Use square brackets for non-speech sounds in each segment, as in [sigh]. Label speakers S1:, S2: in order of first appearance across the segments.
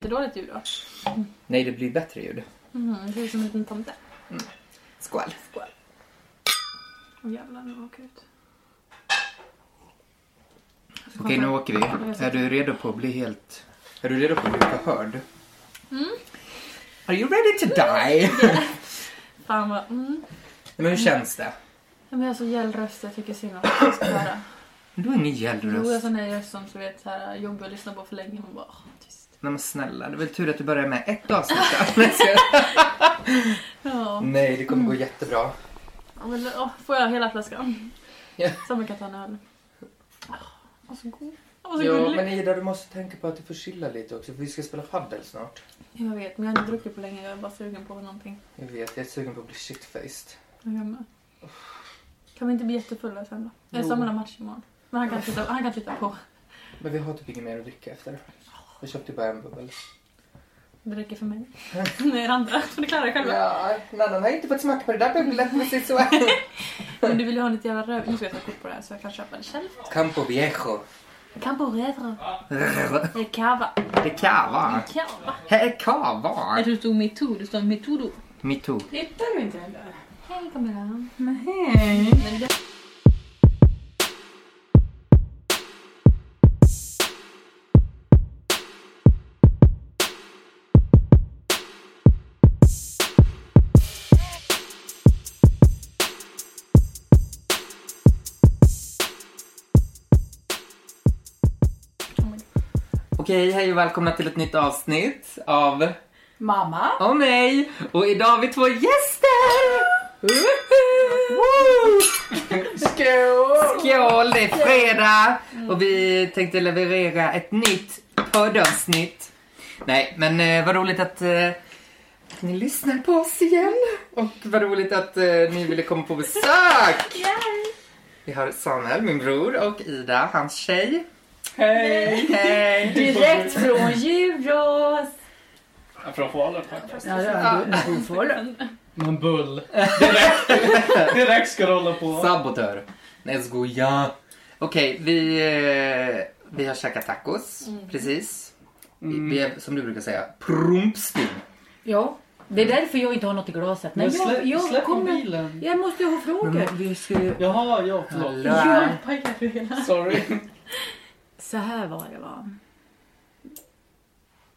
S1: jättedåligt ljud då.
S2: Nej, det blir bättre ljud.
S1: Mm, det ser ut som en liten tomte.
S2: Skål.
S1: Åh jävlar, nu åker ut.
S2: Okej, nu åker vi. Är du redo på att bli helt... Är du redo på att bli förhörd?
S1: Mm.
S2: Are you ready to
S1: [laughs]
S2: die?
S1: Fan vad... Mm.
S2: Men hur känns det?
S1: Men jag har så gäll röst, jag tycker synd om att jag ska höra.
S2: Du har ingen
S1: Jo, jag har
S2: gällröst.
S1: sån här röst som så vet, så här, jobbig att lyssna på för länge. Man bara, "Åh, tyst.
S2: Nej men snälla, det är väl tur att du börjar med ett avsnitt. [laughs] där. Nej, ska-
S1: Ja.
S2: Nej, det kommer
S1: Mm.
S2: gå jättebra.
S1: Ja, men, åh, får jag hela flaskan?
S2: Ja.
S1: Som man kan ta en öl. Åh, Vad så god. Åh, Vad så
S2: Jo,
S1: gullig.
S2: men Ida, du måste tänka på att du får chilla lite också för vi ska spela paddel snart.
S1: Jag vet, men jag har inte druckit på länge. Jag är bara sugen på någonting.
S2: Jag vet, jag är sugen på att bli shitfaced.
S1: Jag är med. Kan vi inte bli jättefulla sen då? Jag
S2: Jo.
S1: har samma match imorgon. Men han kan titta, han kan titta på.
S2: Men vi har typ inget mer att dricka efter. Jag köpte bara en bubbel.
S1: Det räcker för
S2: [laughs]
S1: mig. [laughs] Nej, det andra får ni klara er själva.
S2: Ja, Nannan har inte fått smaka på det där bubblet precis så.
S1: Men du vill ju ha lite jävla röv. Nu ska jag ta kort på det här så jag kan köpa det själv.
S2: Campo [laughs] Viejo.
S1: Campo Revro. Eller Cava.
S2: Det är kava.
S1: Cava.
S2: Här är kava.
S1: du stod metoo, du stod metodo.
S2: Metoo.
S3: Tittar du inte heller?
S1: Hej kameran.
S3: Nej.
S1: Men det...
S2: Okej, hej och välkomna till ett nytt avsnitt av
S3: Mamma.
S2: Åh nej! Och idag har vi två gäster! Woho!
S3: Skål!
S2: Skål, det är fredag och vi tänkte leverera ett nytt poddavsnitt. Nej, men eh, vad roligt att, eh, att ni lyssnar på oss igen. Och vad roligt att eh, ni ville komma på besök. Vi har Samuel, min bror, och Ida, hans tjej.
S3: Hej!
S4: [laughs]
S2: Hej!
S3: Direkt från Djurås!
S5: Från Falun faktiskt.
S3: Ja, det var Falun.
S2: [laughs]
S5: Men bull. Direkt, direkt ska rulla på.
S2: Sabotör. Nej, jag skojar. Okej, vi, eh, vi har käkat tacos.
S4: Mm.
S2: Precis.
S5: Mm.
S2: Vi- Vi är, som du brukar säga, prumpsting.
S4: Ja, det är därför jag inte har något i glaset. Nej,
S5: Men slä,
S4: jag, jag,
S5: släpp
S4: kommer,
S5: mobilen.
S4: jag måste ju ha frågor.
S2: vi ska...
S5: Jaha, ja förlåt.
S2: Hallå.
S5: Sorry.
S4: Så här var det va.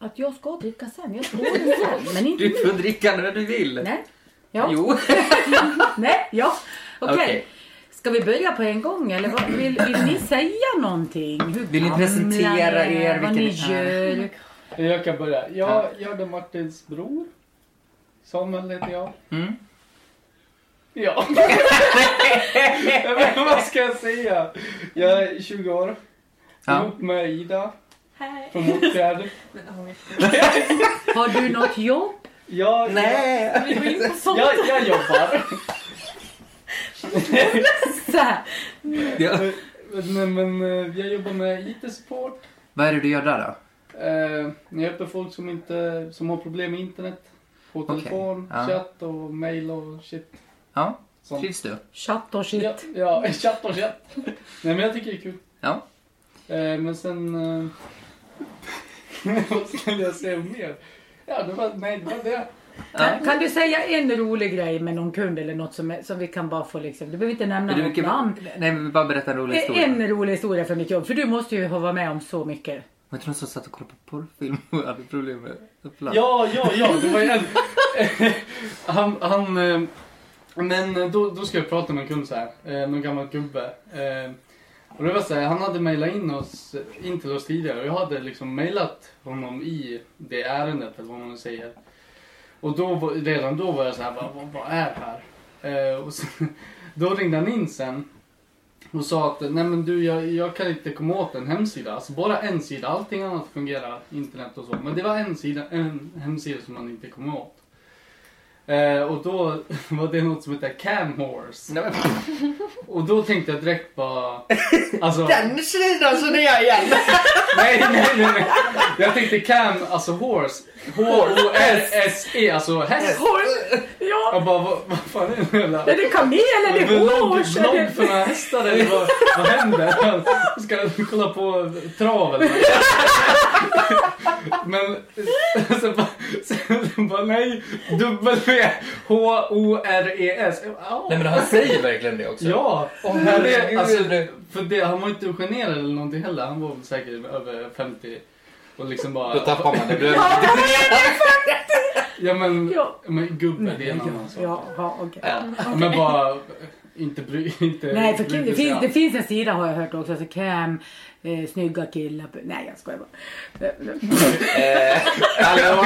S4: Att jag ska dricka sen. Jag tror det
S2: [laughs]
S4: sen. Men inte
S2: Du
S4: nu.
S2: får dricka när du vill.
S4: Nej. Ja.
S2: Jo.
S4: Nej. Ja. Okej.
S2: Okej.
S4: Ska vi börja på en gång eller vad, vill, vill ni säga någonting? Hur
S2: Vill ni
S4: gamla
S2: presentera
S4: ni är,
S2: er,
S4: Vad ni
S2: vilken ni är?
S4: gör?
S5: Jag kan börja. Jag, jag är Martins bror. Samuel heter jag.
S2: Mm. [laughs]
S5: Ja. Men vad ska jag säga? Jag är 20 år.
S2: Ja.
S5: Ihop med Ida
S1: Hej.
S5: från Motfjärd.
S4: Har du något jobb?
S5: Jag,
S2: Nej.
S1: Vi går in på sånt.
S5: jag, jag jobbar.
S4: Så här.
S2: Ja.
S5: Men, men eh, jag jobbar med IT-support.
S2: Vad är det du gör där då?
S5: Eh, jag hjälper folk som, inte, som har problem med internet. På
S2: Okej,
S5: telefon,
S2: ja.
S5: chatt och mail och shit.
S2: Ja,
S5: Sånt.
S2: trivs du?
S4: Chatt och shit.
S5: Ja, ja, [laughs] chatt och chatt. Nej men jag tycker det är kul.
S2: Ja.
S5: Eh, [laughs] men sen... Eh, vad skulle jag säga mer? Ja, det var, nej, det var det.
S2: Ja.
S4: Kan du säga en rolig grej med någon kund eller något som, som vi kan bara få liksom. Du behöver inte nämna
S2: Du
S4: något
S2: brukar...
S4: namn.
S2: Nej, men vi bara berätta en rolig
S4: Det
S2: historia.
S4: är Eh, en rolig historia från mitt jobb, för du måste ju ha varit med om så mycket.
S2: Var det någon som satt och kollade på porrfilm och hade problem med upplag?
S5: Ja, ja, ja, det var ju en. han, han, eh, men då, då ska jag prata med en kund så här, eh, någon gammal gubbe. Eh, och det var så här, han hade mejlat in, oss, in till oss tidigare och jag hade liksom mejlat honom i det ärendet eller vad man nu säger. Och då, var- redan då var jag så här, vad, vad, vad är det här? Eh, och sen, [laughs] då ringde han in sen och sa att nej men du jag, jag kan inte komma åt en hemsida. Alltså bara en sida. Allting annat fungerar, internet och så. Men det var en, sida, en hemsida som man inte kom åt. Eh, och då [laughs] var det något som hette cam horse.
S2: Nej, men,
S5: Och då tänkte jag direkt bara... Alltså, nej,
S2: den sidan känner jag igen!
S5: nej, nej, nej. Jag tänkte cam, alltså horse. H-O-R-S-E, alltså häst.
S4: Horse! Ja,
S5: Jag bara, vad, vad fan är det jävla...
S4: är det kamel eller är det
S5: Vlogg,
S4: horse? Är
S5: vlogg
S4: det-
S5: för några hästar eller vad, vad händer? Alltså, Ska du kolla på trav eller något? Men sen bara, sen bara nej, W-H-O-R-E-S. Ja.
S2: Nej men han säger verkligen det också.
S5: E Ja,
S2: Åh,
S5: men det,
S2: herregud.
S5: alltså, för det, han var inte generad eller någonting heller. Han var väl säkert över 50 och liksom bara...
S2: Då tappar man det. Blir...
S5: Ja men,
S4: Ja.
S5: men gubbe det är en annan sak.
S4: Ja, ja, okej.
S5: Men bara inte bry inte
S4: Nej, för
S5: bry
S4: det,
S5: sig alls.
S4: finns, det finns en sida har jag hört också. Alltså cam, eh, snygga killar. Nej, jag skojar bara. Eh,
S2: Eh, hallå?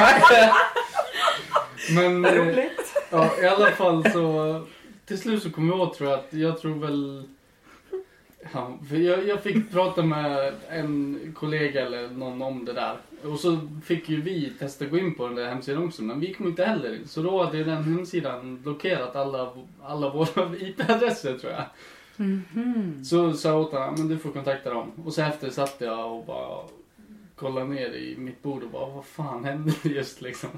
S5: Men eh, ja, i alla fall så till slut så kom jag åt tror jag att jag tror väl Ja, för jag, jag fick prata med en kollega eller någon om det där. Och så fick ju vi testa gå in på den där hemsidan också men vi kom inte heller in. Så då hade ju den hemsidan blockerat alla, alla våra [laughs] IP-adresser tror jag. Så sa jag åt honom, men du får kontakta dem. Och så efter satt jag och bara kollade ner i mitt bord och bara vad fan hände just liksom.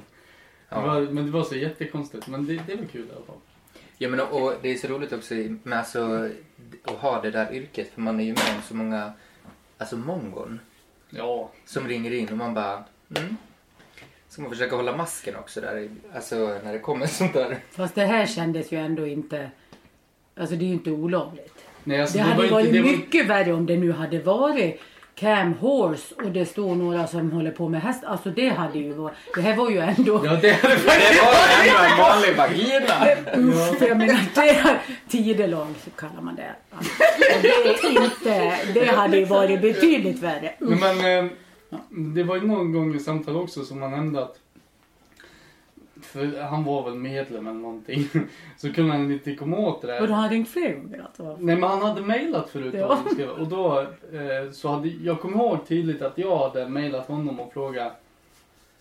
S2: Ja.
S5: Det var, men det var så jättekonstigt. Men det, det var kul i alla fall.
S2: Ja, men och, och det är så roligt också i- med alltså, att ha det där yrket för man är ju med om så många, alltså mongon
S5: Ja.
S2: som ringer in och man bara mm. Så man försöker hålla masken också där, i- alltså när det kommer sånt
S4: [laughs]
S2: där.
S4: Fast det här kändes ju ändå inte... Alltså det är ju inte olagligt.
S5: Nej, alltså,
S4: Det
S5: det,
S4: hade
S5: var
S4: ju
S5: inte,
S4: varit
S5: det var,
S4: mycket värre om det nu hade varit cam horse och det står några som håller på med häst. Alltså det hade ju varit... Det här var ju ändå...
S5: Ja, det hade faktiskt...
S2: Det var ändå en vanlig vagina!
S4: Uff, för jag menar, det är tidelag så kallar man det. Alltså, det, är inte, det hade ju varit betydligt värre.
S5: Men, men eh, det var ju någon gång i samtal också som han nämnde att för han var väl medlem eller någonting. [laughs] Så kunde han inte komma åt det där.
S4: Och då har han ringt fler gånger alltså.
S5: Nej men han hade mejlat förut
S4: Ja.
S5: vad han skrev. och då eh, så hade jag kommer ihåg tydligt att jag hade mejlat honom och frågat.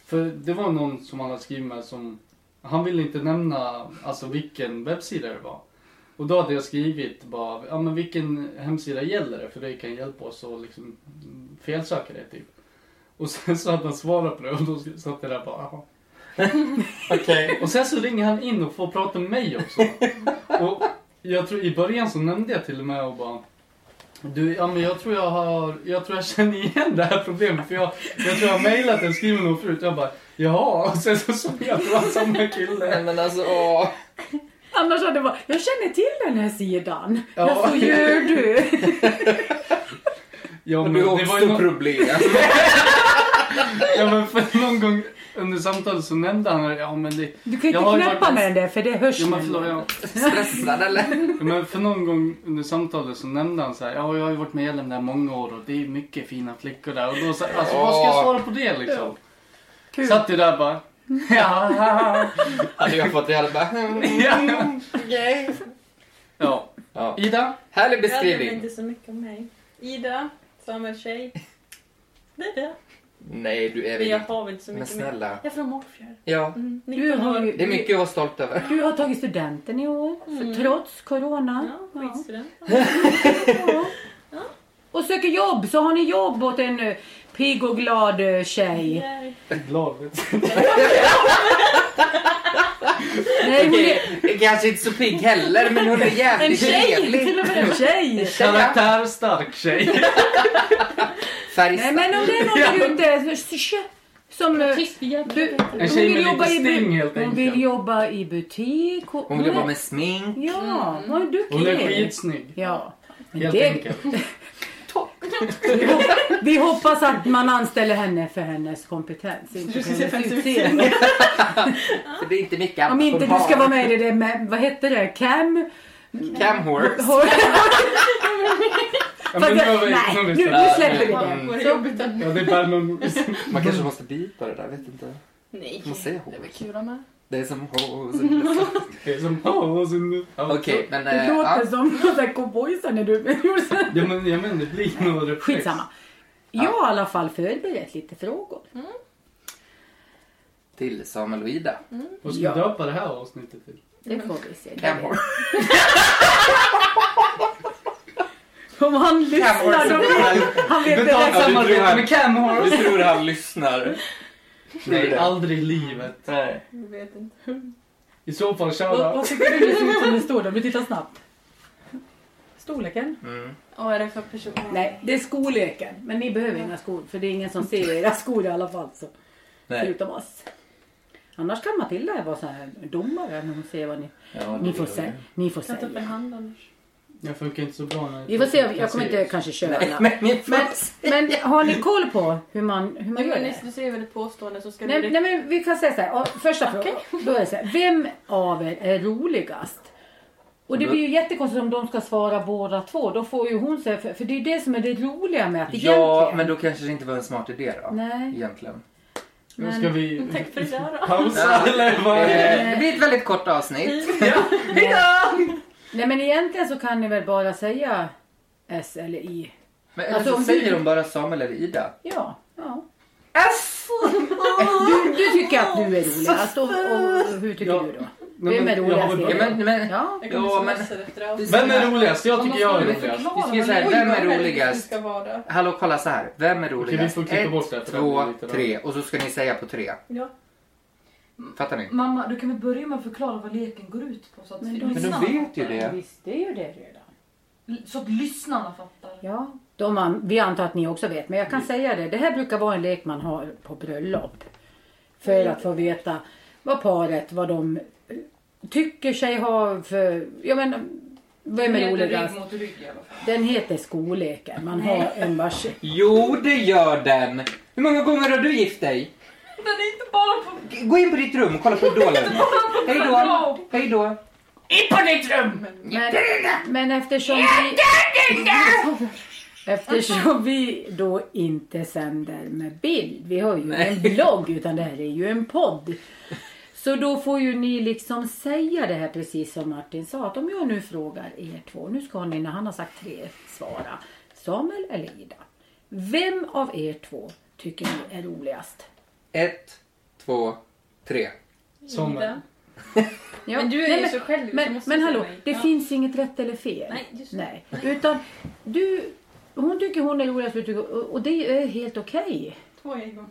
S5: För det var någon som han hade skrivit med som han ville inte nämna alltså vilken webbsida det var. Och då hade jag skrivit bara ja men vilken hemsida gäller det för det kan hjälpa oss att liksom mm, felsöka det typ. Och sen så hade han svarat på det och då satt jag där bara "Jaha."
S2: Okej.
S5: Och sen så ringer han in och får prata med mig också. Och jag tror i början så nämnde jag till och med och bara du, ja, men jag tror jag har, jag tror jag känner igen det här problemet för jag, jag tror jag har mejlat eller skrivit något förut. Jag bara, jaha, och sen så såg jag att det var samma kille.
S2: Nej men alltså åh.
S4: Annars hade det varit, jag känner till den här sidan.
S5: Ja.
S4: Ja. Så gör du.
S5: Ja,
S2: Men du
S5: men det
S2: har
S5: var ju
S2: också
S5: någon, [laughs]
S2: problem. Alltså,
S5: ja, men för någon gång under samtalet så nämnde han, ja men det,
S4: Du kan
S5: Jag
S4: inte
S5: har ju
S4: knäppa
S5: varit-
S4: med den där för det hörs
S5: ja, men
S4: ju.
S5: förlåt, jag,
S2: Stressad eller?
S5: Ja, Men för någon gång under samtalet så nämnde han så här, ja jag har ju varit medlem där många år och det är mycket fina flickor där och då så här, alltså vad ska jag svara på det liksom?
S4: Kul.
S5: Satt ju där bara, ja,
S2: Hade jag fått det hade jag bara mm,
S5: ja.
S2: okej.
S5: ja.
S2: Ja.
S5: Ida?
S2: Härlig
S1: Jag hade
S2: beskrivning.
S1: inte så mycket om mig. Ida, sametjej. Det är det.
S2: Nej du är
S1: Men jag
S2: väl
S1: har väl inte så
S2: Men
S1: mycket mer.
S2: snälla.
S1: Jag är från Mårfjärd.
S2: Ja.
S1: Mm,
S4: Du
S1: 19
S4: har,
S1: år.
S4: ju,
S2: Det är mycket att vara stolt över.
S4: du har tagit studenten i år, för-
S1: Mm.
S4: trots corona.
S1: Ja,
S4: Ja.
S1: skitstudent.
S4: Ja. Och söker jobb, så har ni jobb åt en eh, pigg och glad eh, tjej.
S1: Yay.
S5: Glad.
S4: Nej, hon är
S2: Okej, kanske inte så pigg heller men hon är
S4: en
S2: jävligt
S4: tjej!
S2: trevlig.
S4: Till och med en tjej!
S5: Karaktärstark tjej.
S4: Nej
S2: Färgstark.
S4: men om det är någon där ute så- så- som... eh,
S1: Tyst för
S4: Du-
S1: jävligt.
S5: En
S4: Hon
S5: tjej
S4: vill
S5: med
S4: jobba
S5: lite
S4: i bu-
S5: sting helt
S4: Hon vill
S5: enkelt.
S4: jobba i butik. Hon,
S2: Hon vill jobba med smink.
S4: Ja, hon är duktig.
S5: Hon är skitsnygg.
S4: Ja. Men
S5: Helt
S4: det-
S5: enkelt.
S4: Vi hop- [laughs] Vi hoppas att man anställer henne för hennes kompetens, inte för hennes utseende.
S2: För det är inte mycket
S4: Om
S2: annat
S4: inte
S2: hon
S4: du ska
S2: har.
S4: vara med i det där med, vad hette det, cam?
S2: Cam horse.
S4: [laughs]
S5: Ja, men nu har vi Mm,
S4: Nej, nu,
S5: nu
S4: nu
S5: har vi-
S4: släpper vi
S1: Fan, vad
S4: det.
S1: det
S4: Så,
S1: jobbigt att-
S5: Ja, det är Bergman.
S2: Man kanske måste bipa det där, vet inte.
S1: Nej.
S2: Man säger
S1: Det var
S2: horse.
S1: kul med.
S2: Det är som horse.
S4: [laughs]
S5: Det är som, "Åh, och sen- ja.
S2: Okej, men...
S4: det
S2: eh, ja.
S4: låter som någon sån här cowboysa när du [laughs] gjorde så här.
S5: Ja, men, ja, men det blir nog reflex.
S4: Skitsamma. Jag har i alla fall förberett lite frågor.
S2: till Samuel och Ida.
S5: Vad ska
S4: Ja.
S5: vi döpa det här avsnittet till?
S3: Det får vi se.
S2: Camhor.
S4: Om han lyssnar då vet han vet direkt.
S5: Samarbete med
S2: Du
S5: Camhorse!
S2: tror han lyssnar?
S5: Nej, aldrig i livet.
S2: Nej.
S1: Jag vet inte.
S5: I så fall,
S3: Vad,
S5: shoutout.
S3: vad tycker du det ser ut som en stor då? Om du tittar snabbt. Storleken?
S2: Mm.
S1: Vad är det för person?
S4: Nej, det är skoleken. Men ni behöver inga skor för det är ingen som ser era skor i alla fall. Så.
S2: Nej.
S4: Förutom oss. Annars kan Matilda vara så här domare när hon ser vad ni...
S2: Ja,
S4: Ni
S2: det
S4: får,
S2: gör
S4: sä-
S2: vi.
S4: ni får
S1: Ta upp en
S4: säga.
S1: hand annars.
S5: Jag funkar inte så bra när
S4: Vi får se,
S5: kan
S4: jag kommer
S5: se
S4: inte
S5: oss.
S4: kanske köra
S2: Nej, [laughs]
S4: alla.
S2: men ni får
S4: Men,
S2: se.
S4: men har ni koll på hur man, hur man
S1: Nej,
S4: gör
S1: men
S4: det?
S1: nyss du säger väl ett påstående så ska
S4: Nej,
S1: du...
S4: nej men vi kan säga så här. ja, Första frågan. Då är det så här. Vem av er är roligast? Och det blir ju jättekonstigt om de ska svara båda två. Då får ju hon säga, för, för det är ju det som är det roliga med att egentligen.
S2: Ja, men då kanske det inte var en smart idé då.
S4: Nej.
S2: Egentligen.
S5: Men Ska vi
S1: Tack för idag då.
S5: [laughs] pausa eller vad?
S2: Eh,
S5: är det?
S2: Det blir ett väldigt kort avsnitt.
S4: Eh, Nej men egentligen så kan ni väl bara säga S eller I.
S2: Men
S4: Alltså,
S2: alltså,
S4: om
S2: säger
S4: du-
S2: de bara Samuel eller Ida?
S4: Ja. ja.
S2: S!
S4: Du, du tycker att du är roligast och, och hur tycker
S5: Ja.
S4: du då?
S5: Nej,
S4: Vem
S5: men
S4: är
S5: jag har
S4: roligast?
S5: väl-
S2: Ja, men, men,
S4: Ja.
S1: Jag kommer
S2: Ja, men-
S1: smsa efter avsnittet.
S5: Vem är roligast? Jag
S1: Om
S5: tycker
S1: någon
S5: jag är
S1: skulle
S5: roligast.
S1: förklara
S2: Vi ska ju
S1: vad
S2: säga,
S1: man-
S2: vem
S1: Oj,
S2: är
S1: vad väldigt
S2: roligast?
S1: du ska vara.
S2: Hallå kolla så här, vem är
S5: Okej, vi
S2: roligast?
S5: får klippa bort det här,
S2: Ett,
S5: för det här blir
S2: två,
S5: lite
S2: tre och så ska ni säga på tre.
S1: Ja.
S2: Fattar ni?
S6: Mamma, du kan väl börja med att förklara vad leken går ut på så att,
S4: Men de-
S2: Men de
S6: lyssnarna,
S2: vet ju det.
S4: Visst, det är ju det redan.
S6: så att lyssnarna fattar.
S4: Ja, de an- vi antar att ni också vet, men jag kan säga det. Det här brukar vara en lek man har på bröllop. För att få veta vad paret, vad de eh, tycker sig ha för... Jag menar, vem är roligast?
S6: Rygg mot rygg i alla fall.
S4: Den heter skolleken. Man har en vars...
S2: Jo, det gör den! Hur många gånger har du gift dig?
S6: Den är inte bara på
S2: Gå in på ditt rum och kolla
S4: [laughs]
S2: på Idol. Hej då! Hej då!
S4: Men, men eftersom vi... [laughs] Eftersom vi då inte sänder med bild. Vi har ju en blogg utan det här är ju en podd. Så då får ju ni liksom säga det här precis som Martin sa. Att om jag nu frågar er två. Nu ska ni när han har sagt tre svara. Samuel eller Ida. Vem av er två tycker ni är roligast?
S2: Ett, två, tre.
S5: Som-
S1: Ida.
S4: Ja,
S1: Men du är
S4: nej,
S1: ju så själv, du
S4: Men,
S1: måste
S4: men
S1: säga
S4: hallå,
S1: nej.
S4: det
S1: Ja.
S4: finns inget rätt eller fel.
S1: Nej, just det.
S4: Nej. Utan du, hon tycker hon är roligast du tycker- och och det är helt okej.
S1: Två är igång.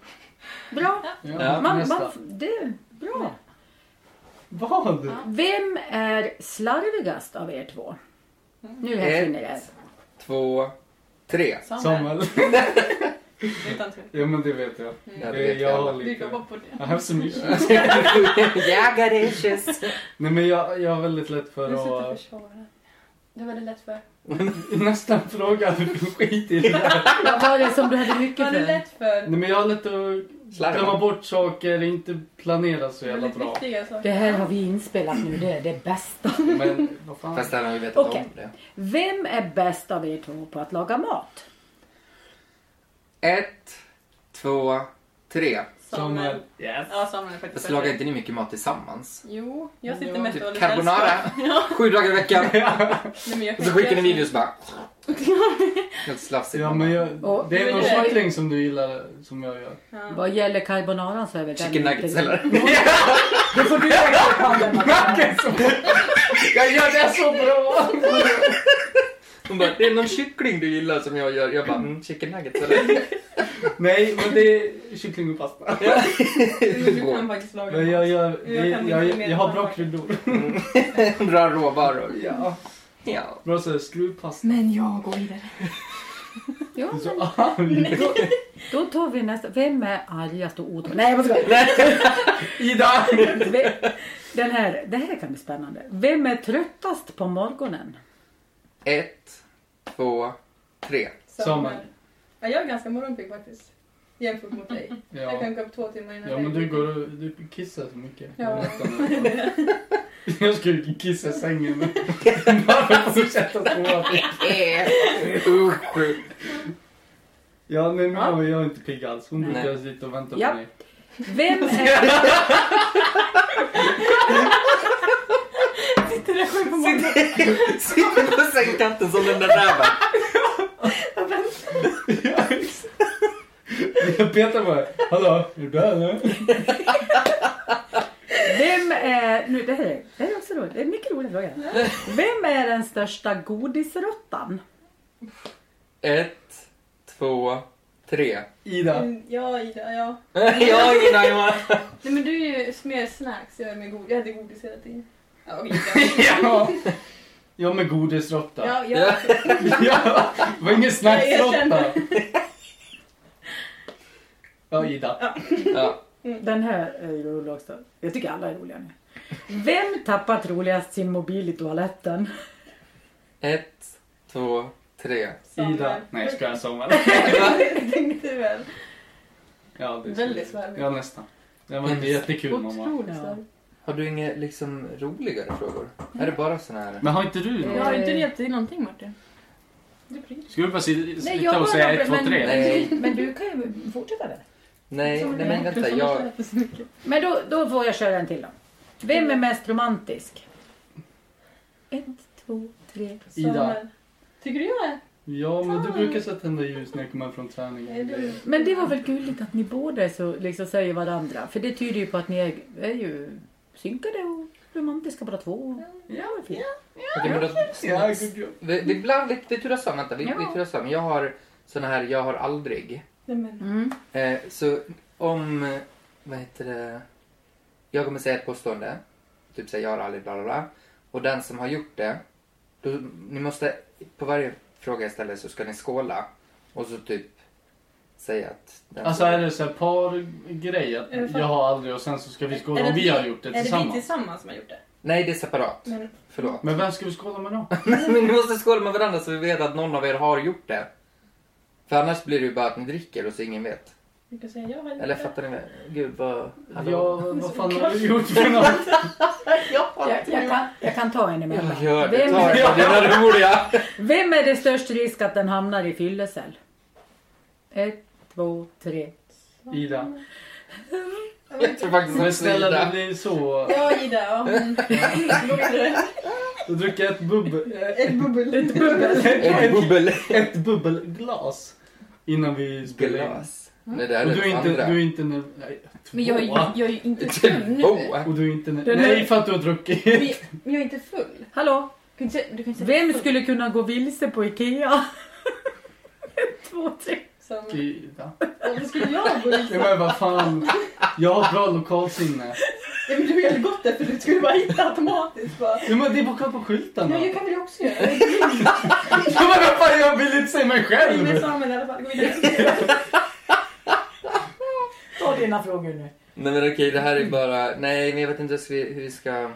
S4: Bra.
S2: Ja,
S5: Ja,
S4: Man,
S5: nästa.
S4: man, det, bra.
S5: Vad?
S4: Vem är slarvigast av er två?
S1: Mm.
S4: Nu här
S2: Ett.
S4: försvinner det.
S2: Två, tre.
S5: Samuel. [laughs]
S1: Utan tvekan.
S5: Ja men det vet jag.
S2: Ja, det
S5: Eh,
S2: vet
S5: jag
S2: jag. [laughs]
S5: har
S1: Vi går
S5: lite...
S1: bort på det.
S5: Jag har så mycket.
S2: Jag got issues.
S5: Nej men jag, jag har väldigt lätt
S1: Du sitter
S5: för
S1: och
S5: att...
S1: försvarar. Det var det lätt för.
S5: [laughs] Nästa fråga, skit
S2: [laughs]
S5: i det här.
S4: Vad var det som du hade mycket
S1: Var det
S4: för?
S1: lätt för?
S5: Nej men jag har lätt att
S2: Slarva.
S5: glömma bort saker, inte planera så jävla
S1: Väldigt
S5: bra.
S1: viktiga saker.
S4: Det här har vi inspelat nu, det är det bästa.
S5: Men vad fan.
S2: Fast han har ju vetat
S4: Okej.
S2: om det.
S4: Vem är bäst av er två på att laga mat?
S2: Ett, två, tre.
S1: Samuel.
S5: Yes.
S1: Ja, Samuel är faktiskt
S2: Fast lagar
S1: bättre.
S2: inte ni mycket mat [laughs] tillsammans?
S1: Jo, jag sitter
S5: Ja.
S1: mest och
S2: Typ
S1: håller
S2: carbonara.
S1: sällskap. [laughs] Ja,
S2: Sju dagar i veckan.
S1: nej, men jag
S2: Och
S1: kan
S2: så skickar ni
S1: inte göra
S2: videos [laughs] bara. Helt slafsigt.
S5: Ja men jag,
S4: Och-
S5: det är någon
S1: Men det-
S5: kyckling som du gillar som jag gör.
S1: så. Ja.
S4: Vad gäller carbonaran så är väl den
S2: [laughs] Chicken nuggets
S4: inte-
S2: eller?
S4: Det får du
S2: Jag gör det så bra! Hon bara, det är någon kyckling du gillar som jag gör. Jag bara, mm, chicken nuggets [laughs] eller?
S5: Nej men det är kyckling och pasta.
S1: Jo, Du kan faktiskt laga
S5: Men jag,
S1: mat.
S5: gör, det,
S1: Jag
S5: jag,
S1: kan
S5: jag,
S1: inte mer
S5: har
S1: än
S5: bra
S1: vad-
S5: kryddor.
S2: Bra råvaror.
S5: Ja.
S2: Ja.
S5: Bra såhär skruvpasta.
S6: Men jag går vidare.
S4: Ja,
S5: Så, ah, vi-
S4: Då tar vi nästa. Vem är argast och otrogen? Nej, jag skojar.
S5: Ida!
S4: Ve- Den här, det här kan bli spännande. Vem är tröttast på morgonen?
S2: Ett, två, tre.
S5: Samuel.
S1: Ja, jag är ganska morgonpigg faktiskt. Jämfört mot dig. Jag
S5: Ja.
S1: kan gå upp två timmar innan
S5: ja
S1: dig.
S5: men du går och du kissar så mycket.
S1: Ja.
S5: Jag ska ju kissa i sängen. [laughs] Bara fortsätta sova.
S2: Eh. Usch.
S5: Ja nej men jag, jag är inte pigg alls. Hon
S2: Nej.
S5: brukar sitta och vänta
S4: Ja.
S5: på mig. [laughs]
S4: Vem är...
S2: Sitter- Sitter på sängkanten som den där räven.
S5: Jag petar på dig. Hallå, är du där eller?
S4: Vem är, nu, det, här, är- det här är också roligt, det är en mycket rolig fråga. Vem är den största godisråttan?
S2: Ett, två, tre.
S5: Ida.
S1: Mm, Ja, Ida, ja.
S2: Jag har ingen aning vad...
S1: Nej men du är ju mer snacks, jag, är med god- jag hade godis hela tiden. Ja, okej,
S5: [laughs] [laughs] Ja. Jag med godisråtta.
S1: ja,
S2: Ja.
S1: ja.
S5: [laughs] Ja, det var ingen snacksråtta. Ja, Ida.
S2: Ja.
S4: Den här är ju rolig också. Jag tycker alla är roliga nu. Vem tappar troligast sin mobil i toaletten?
S2: Ett, två, tre.
S5: Ida.
S1: [laughs]
S5: Nej, jag skojar. Samuel.
S1: jag tänkte väl.
S5: Ja, det är
S1: Väldigt
S5: så-
S1: slarvigt.
S5: Ja, nästan. Det var inte jättekul, mamma.
S1: Otroligt
S4: Ja.
S1: slarvigt.
S2: Har du inga liksom roligare frågor? Är det bara såna här?
S5: Men har inte du
S1: Jag
S5: något?
S1: har inte
S4: Eh.
S1: hjälpt dig någonting Martin. Du pryr.
S5: Ska du bara si-
S4: Nej,
S5: sitta
S4: jag
S5: och
S4: bara
S5: säga
S4: rabblar,
S5: 1, 2,
S4: men-
S5: 3?
S2: Nej,
S4: Men du kan ju fortsätta där.
S2: nej, nej men vänta. Jag...
S4: Men då, då får jag köra en till då. Vem är mest romantisk? Ett, två, tre.
S5: Ida.
S1: eh, Tycker du jag är?
S5: Ja, men du brukar så tända ljus när jag kommer hem från träningen.
S1: Ah. Är du?
S4: Men det var väl gulligt att ni båda är så, liksom, säger varandra. För det tyder ju på att ni är, är ju synkade och romantiska båda två.
S5: Ja,
S4: det är fint.
S2: Okej, men då...
S5: Ja, god jul.
S2: vi, vi, ibland, vi, vi turas om. Vänta, vi, vi
S4: Ja.
S2: turas om. Jag har såna här jag har aldrig.
S1: Nej men.
S4: Mm.
S2: Eh, så om, eh, vad heter det, jag kommer säga ett påstående, typ säga jag har aldrig bla bla bla. Och den som har gjort det, då, ni måste, på varje fråga jag ställer så ska ni skåla. Och så typ säga att... Den
S5: Alltså är det så här pargrej att
S1: Är det fan-
S5: jag har aldrig och sen så ska vi
S1: Är
S5: skåla
S1: det
S5: om vi
S1: vi-
S5: har gjort det
S1: Är det vi
S5: tillsammans.
S1: tillsammans som har gjort det?
S2: Nej, det är separat.
S1: Men,
S2: Förlåt. [laughs]
S5: Men vem ska vi skåla med då?
S2: Men ni måste skåla med varandra så vi vet att någon av er har gjort det. För annars blir det ju bara att ni dricker och så ingen vet.
S1: jag kan säga jag har gjort
S2: Eller
S1: det.
S2: fattar ni? vad- Gud vad... hallå?
S5: Ja, vad fan har
S1: [laughs]
S5: du gjort för något?
S4: Jag, jag, kan, jag kan ta en emellan.
S2: Ja, gör det.
S4: Vem,
S2: Ta det
S5: Ja.
S2: på dina roliga.
S4: vem är det störst risk att den hamnar i fyllecell? Ett, två, [laughs] tre.
S5: Ida.
S2: Jag tror faktiskt
S5: Men
S2: att det är
S5: snälla det
S2: Ida.
S5: blir så.
S1: Ja Ida,
S2: [laughs]
S1: ja. Mm.
S5: Då dricker jag ett bubbel...
S1: Ett bubbel.
S2: Ett
S5: Ett,
S2: bubbel.
S5: ett bubbelglas. Innan vi spelar in.
S2: Glas. Nej, det här
S5: Och
S2: är
S5: du är
S2: det
S5: inte...
S2: andra.
S5: Du är inte... ner- nej,
S1: Men jag är, ju-
S5: tvåa.
S1: jag är ju inte full
S2: [laughs]
S1: nu.
S2: Två.
S5: Och du är inte... ner-
S4: Den
S5: Nej,
S4: är-
S5: för att du har druckit.
S1: Men jag- men jag är inte full.
S4: Hallå?
S1: Du kan inte säga- Du kan inte säga
S4: Vem
S1: full.
S4: skulle kunna gå vilse på Ikea? [laughs] Ett, två, tre.
S1: Som,
S5: Ida.
S1: varför skulle jag
S2: [laughs]
S1: gå dit?
S5: Ja, men vad fan. Jag har bra lokalsinne.
S1: Ja, men du hade gått där för du skulle bara hitta automatiskt. Bara.
S5: Ja, men det är bara på skylten då.
S1: Ja, jag kan väl jag också göra det.
S5: Ja, men vad fan, jag vill inte se mig
S1: Jag är med
S5: själv.
S1: Samuel i alla fall. Gå vidare.
S4: Ta dina frågor nu.
S2: Nej men okej, det här är bara... Nej, men jag vet inte ens vi- hur vi ska...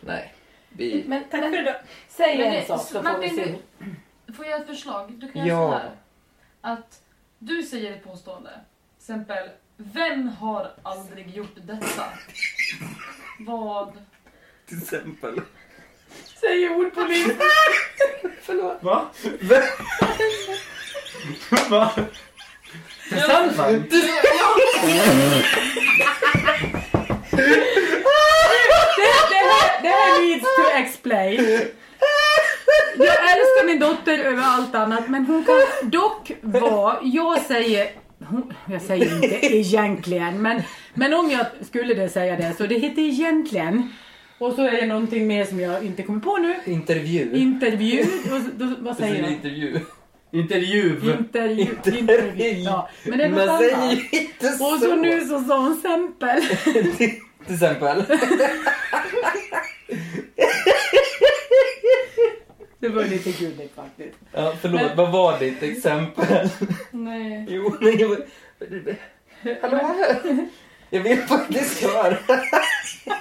S2: Nej. Vi...
S4: Men,
S1: Tack för idag.
S4: säg
S6: Men
S4: en
S6: det-
S4: sak så får vi
S6: Martin,
S4: se.
S6: Får jag ett förslag? Du kan göra så
S2: Ja.
S6: här. Att du säger ett påstående. Till exempel, vem har aldrig gjort detta? Vad?
S2: Till exempel.
S4: Säg ord på listan.
S5: Va? Va? Tillsammans?
S4: Det här, det här needs to explain. Jag älskar min dotter över allt annat men hon kan dock vara, jag säger, hon, jag säger inte egentligen men, men om jag skulle det säga det så det heter egentligen och så är det någonting mer som jag inte kommer på nu.
S2: Intervju.
S4: Intervju, och, så- då, vad
S2: Det är
S4: säger
S2: en
S4: jag?
S2: intervju.
S5: Intervju.
S4: Intervju. intervju. Ja. Men det är
S2: Man
S4: något
S2: säger
S4: annat.
S2: ju inte så.
S4: Och så nu så sa hon exempel.
S2: Till exempel.
S4: Det var ju lite gulligt faktiskt.
S2: Ja, förlåt, vad var ditt exempel? [laughs]
S1: Nej.
S2: Jo, men jag... Hallå? Jag vill faktiskt höra. [laughs]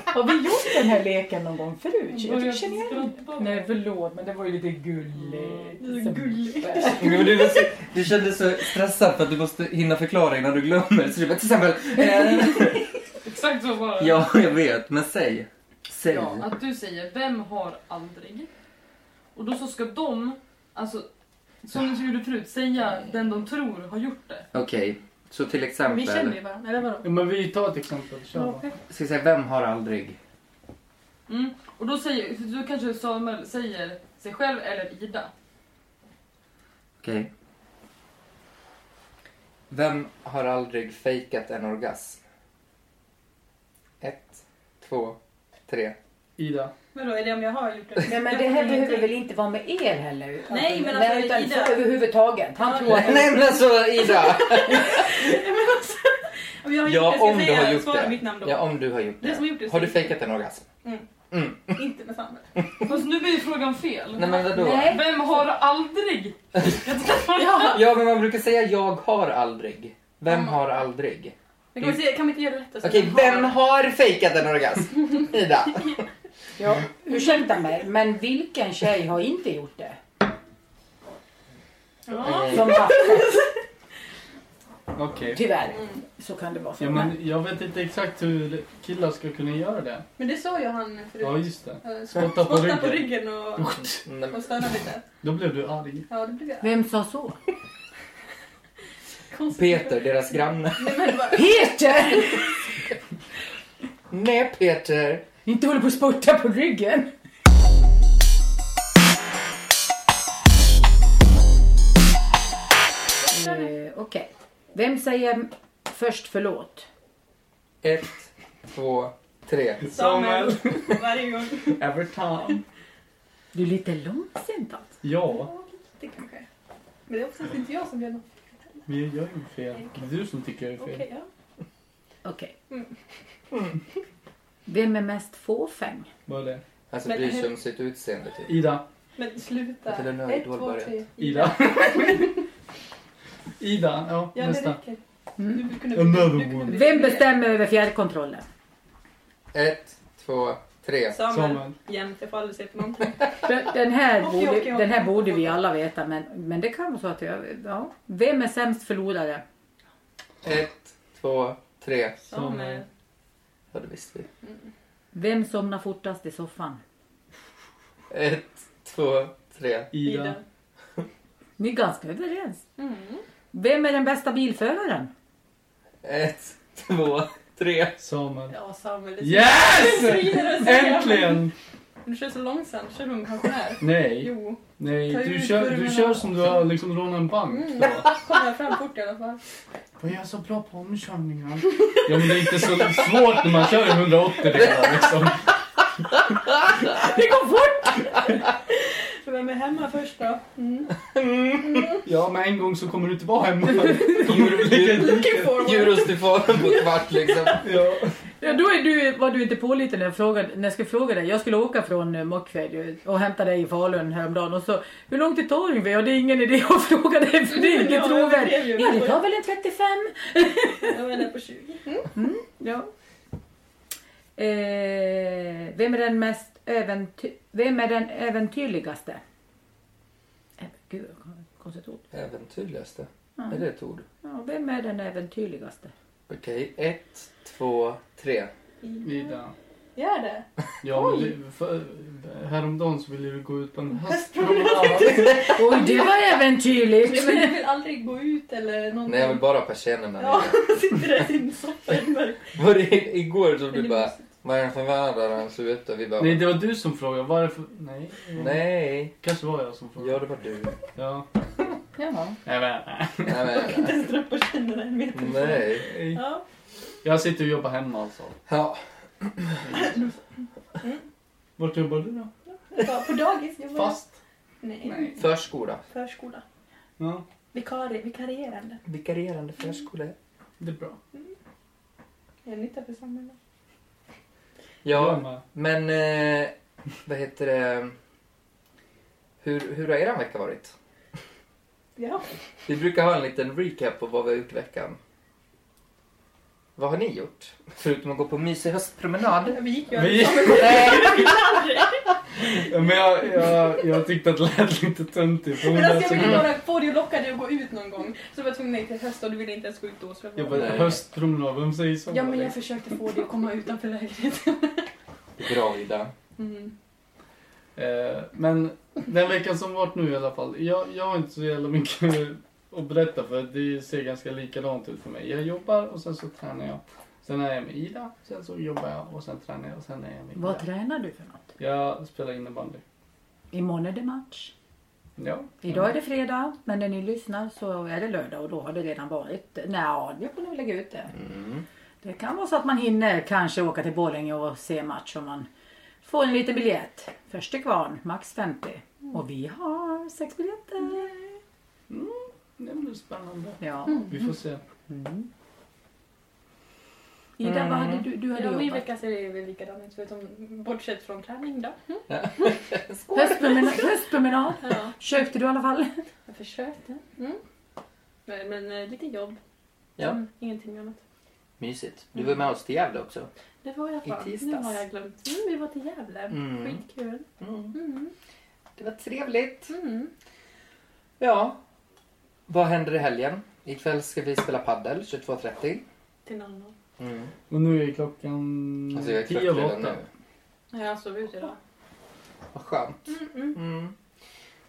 S4: Har vi gjort den här leken någon gång förut? Jag tycker- känner igen den.
S6: Nej.
S4: Nej förlåt men det var ju lite gulligt.
S1: Mm. Det är gulligt.
S2: Men du, var så, du kände så stressad för att du måste hinna förklara innan du glömmer. Så du bara, till exempel. Eh,
S6: Exakt så var det.
S2: ja, jag vet, men säg. Säg.
S6: Ja, att du säger vem har aldrig? Och då så ska de, alltså som du gjorde förut, säga den de tror har gjort det.
S2: Okej, så till
S1: Vi känner
S2: exempel.
S1: ju varandra, eller vadå?
S5: Ja, men vi tar ett exempel. Kör bara.
S2: Ska vi säga, vem har aldrig?
S6: Mm. Och då säger, för du kanske Samuel säger sig själv eller Ida.
S2: Okej. Vem har aldrig fejkat en orgasm? Ett, två, tre.
S5: Ida.
S1: Vadå, eller om jag har gjort det?
S4: Nej, men det här behöver väl inte vara med er heller? Utan,
S1: Nej, men alltså,
S4: utan
S1: Ida-
S4: så överhuvudtaget. Han
S1: Ja,
S4: tror
S2: [laughs]
S4: att...
S2: Nej men alltså Ida!
S1: Om jag har gjort det,
S2: Ja
S1: ska jag
S2: om du
S1: säga
S2: har gjort
S1: svara mitt
S2: det.
S1: namn då?
S2: Ja om du har gjort
S1: Den som har gjort
S2: det.
S1: det
S2: Har du
S1: ska-
S2: fejkat en orgasm?
S1: Mm.
S2: Mm.
S1: Inte med Sandberg.
S6: Fast nu blir ju frågan fel.
S2: Nej men vadå?
S4: Nej.
S6: Vem har aldrig?
S4: Ja.
S2: Ja men man brukar säga jag har aldrig. Vem
S1: Mm.
S2: har aldrig?
S1: Men Kan, vi se, kan vi inte göra det lättare? så
S2: Okej,
S1: man
S2: vem
S1: Alltså, har-
S2: har fejkat en orgasm? Ida.
S4: Ja, ursäkta mig, men vilken tjej har inte gjort det?
S1: Ja.
S4: Som Basse.
S5: Okej.
S4: Tyvärr.
S1: Mm.
S4: Så kan det vara. för
S5: Ja,
S4: mig.
S5: men jag vet inte exakt hur killar ska kunna göra det.
S1: Men det sa ju han förut.
S5: Ja, just det.
S1: Eh,
S5: Spotta på
S1: Spotta på
S5: ryggen.
S1: ryggen och,
S2: Nej, men-
S1: och stöna lite.
S5: Då blev du arg.
S1: Ja, det blev jag.
S4: Vem sa så?
S1: Konstigt.
S2: Peter, deras granne.
S1: Nej, men det var...
S4: Peter!
S2: Nej Peter.
S4: Inte håller på att spurta på ryggen. Eh, Okej. Vem säger först förlåt?
S2: Ett, två, tre.
S1: Samuel.
S5: [laughs]
S1: Varje gång.
S5: Everton.
S4: Du är lite långsint alltså.
S5: Ja,
S1: Det kanske. Men det är oftast inte jag som gör något.
S5: men jag gör ju fel. Det är du som tycker jag är fel.
S1: Okej, ja.
S4: Okej.
S1: Mm.
S4: Vem är mest fåfäng?
S5: Vad är det?
S2: Alltså
S1: Men
S2: bryr
S1: hur-
S2: sig om sitt utseende typ.
S5: Ida.
S1: Men sluta.
S2: Jag tror den har
S1: Ett,
S2: Idol
S1: två,
S2: börjat.
S1: tre.
S5: Ida. Ida, ja,
S1: Ja, det
S5: nästa.
S1: räcker.
S4: Mm.
S1: Du kunde,
S5: Another
S1: du kunde
S5: one.
S4: Vem bestämmer över fjärrkontrollen?
S2: Ett, två, tre.
S1: Samuel.
S5: Samuel.
S1: Jämt, jag får aldrig se på någonting.
S4: Den, den, här
S1: Och
S4: borde,
S1: Jocke och-
S4: den här borde vi alla veta, men, men det kan vara så att jag... Ja. Vem är sämst förlorare?
S2: Ett, två, tre.
S1: Samuel.
S2: Ja, det visste vi.
S4: Vem somnar fortast i soffan?
S2: Ett, två, tre.
S5: Ida.
S1: Ida.
S4: Ni är ganska överens.
S1: Mm.
S4: Vem är den bästa bilföraren?
S2: Ett, två, tre.
S5: Samuel.
S1: Ja, Samuel. Det är så-
S5: Yes!
S1: Det är så irriterande att säga.
S5: Äntligen!
S1: Men Du kör så långsamt. Kör som en pensionär.
S5: Nej,
S1: Jo.
S5: nej.
S1: Ta
S5: Du
S1: ut
S5: kör, du
S1: kurvorna.
S5: kör som du har liksom rånat en bank.
S1: Mm.
S5: Så.
S1: Kommer jag fram fort i alla fall.
S5: Vad är jag så bra på omkörningar? Ja, men det är inte så svårt när man kör i 180 redan liksom.
S4: Det går fort!
S1: Så vem är hemma först då? Mm.
S5: Ja, men en gång så kommer du inte vara hemma. Kommer
S1: [laughs]
S5: du bli lika
S1: Looking
S5: liten.
S1: forward.
S2: Euros till form på kvart liksom.
S5: Ja.
S4: Ja, då är du, var du inte pålitlig när jag, frågade, när jag skulle fråga dig. Jag skulle åka från eh, Mockfjärd ju och hämta dig i Falun häromdagen och så Hur långt är Torgby? Ja, det är ingen idé att [laughs] fråga dig för det är inte
S1: Ja, det är
S4: trovärdigt.
S1: ju-
S4: Ja, det tar väl en 35.
S1: Jag var där på 20. Mm.
S4: Ja. Eh, vem är den mest äventy- Vem är den äventyrligaste? Även- Gud, vad konstigt ord.
S2: Äventyrligaste.
S4: Ja.
S2: Är det ett ord?
S4: Ja, vem är den äventyrligaste?
S2: Okej, ett, två, tre.
S5: Ida.
S1: Gör det?
S5: Ja, men det, för, häromdagen så ville du gå ut på en hästpromenad.
S4: Oj, det [laughs] var
S1: Ja,
S4: äventyrligt!
S1: men du vill aldrig gå ut eller någonting?
S2: Nej, jag vill bara ha persiennerna
S1: Ja,
S2: nere.
S1: sitter där i sin soffa i mörkret.
S2: Var det igår som
S1: Men
S2: du
S1: det
S2: bara,
S1: måste-
S2: vad är det för väder han ser ut? Och vi bara,
S5: Nej,
S2: nej.
S5: det var du som frågade. Varför? Nej. Kanske var jag som frågade.
S2: Ja, det var du.
S5: Ja.
S4: Jaha.
S5: Nej, men,
S2: Nej, men,
S1: Inte ens dra upp kinderna en meter.
S2: nej.
S5: nej.
S1: Ja.
S5: Jag sitter och jobbar hemma alltså.
S2: Ja,
S5: Vart jobbar du då?
S1: Ja, På dagis jobbar jag.
S5: Fast?
S1: Nej.
S2: förskola.
S1: Förskola.
S5: Ja,
S1: Vikari, vikarierande.
S2: Vikarierande förskola.
S5: det är bra.
S1: Det är nytta för samhället.
S5: Jag
S2: Ja,
S5: med.
S2: men eh, vad heter det? Hur, hur har er vecka varit?
S1: Ja.
S2: Vi brukar ha en liten recap på vad vi har gjort i veckan. Vad har ni gjort? Förutom att gå på mysig höstpromenad. [laughs]
S1: Vi gick ju
S5: Vi-
S1: aldrig.
S5: Ja, Men jag, jag, jag tyckte att det lät lite töntigt. för hon
S1: Men
S5: lät
S1: alltså
S5: så
S1: jag ville
S5: bra.
S1: bara få dig att locka dig att gå ut någon gång. Så jag var tvungen nej till höst och du ville inte ens gå ut då. Så jag
S5: Jag
S1: bara...
S5: bara,
S2: Nej.
S5: höstpromenad, vem säger så?
S1: Ja men jag försökte få dig att komma utanför lägenheten.
S2: Bra Ida.
S1: Mm.
S5: Eh, men den veckan som varit nu i alla fall. Jag, jag har inte så jävla mycket att berätta för det ser ganska likadant ut för mig. Jag jobbar och sen så tränar jag. Sen är jag med Ida, sen så jobbar jag och sen tränar jag och sen är jag med Ida.
S4: Vad tränar du för något?
S5: Jag spelar innebandy.
S4: Imorgon är det match.
S5: Ja.
S4: Idag är det fredag, men när ni lyssnar så är det lördag och då har det redan varit. Nej, ja, jag får nog lägga ut det.
S2: Mm.
S4: Det Det kan vara så att man hinner kanske åka till Borlänge och se match om man får en liten biljett. Först till kvarn, max 50. Och vi har sex biljetter.
S5: Det blir spännande.
S4: Ja. Mm.
S5: Vi får se.
S4: Ida, vad hade du, du hade
S1: Ja, min
S4: jobbat?
S1: vecka ser det väl likadan ut förutom bortsett från träning då.
S4: Höstpromenad, höstpromenad.
S1: Ja,
S4: Köpte du i alla fall?
S1: jag försökte. Mm. Men, men eh, lite jobb.
S2: Ja,
S1: Mm, ingenting annat.
S2: mysigt. Du var med oss till Gävle också.
S1: Det var jag
S2: I
S1: fan. Nu
S2: tisdags.
S1: har jag glömt. Mm, vi var till Gävle.
S2: Mm.
S1: Skitkul. Mm.
S2: Det var trevligt.
S1: Mm.
S2: Ja. Vad händer i helgen? Ikväll ska vi spela paddel 22.30.
S1: Till någon annan.
S2: Mm.
S5: Och nu är klockan
S2: Alltså jag är
S5: tio över
S2: klockreden
S5: åtta.
S2: nu.
S1: Ja, Jag sov ut idag.
S2: Vad skönt. Mm.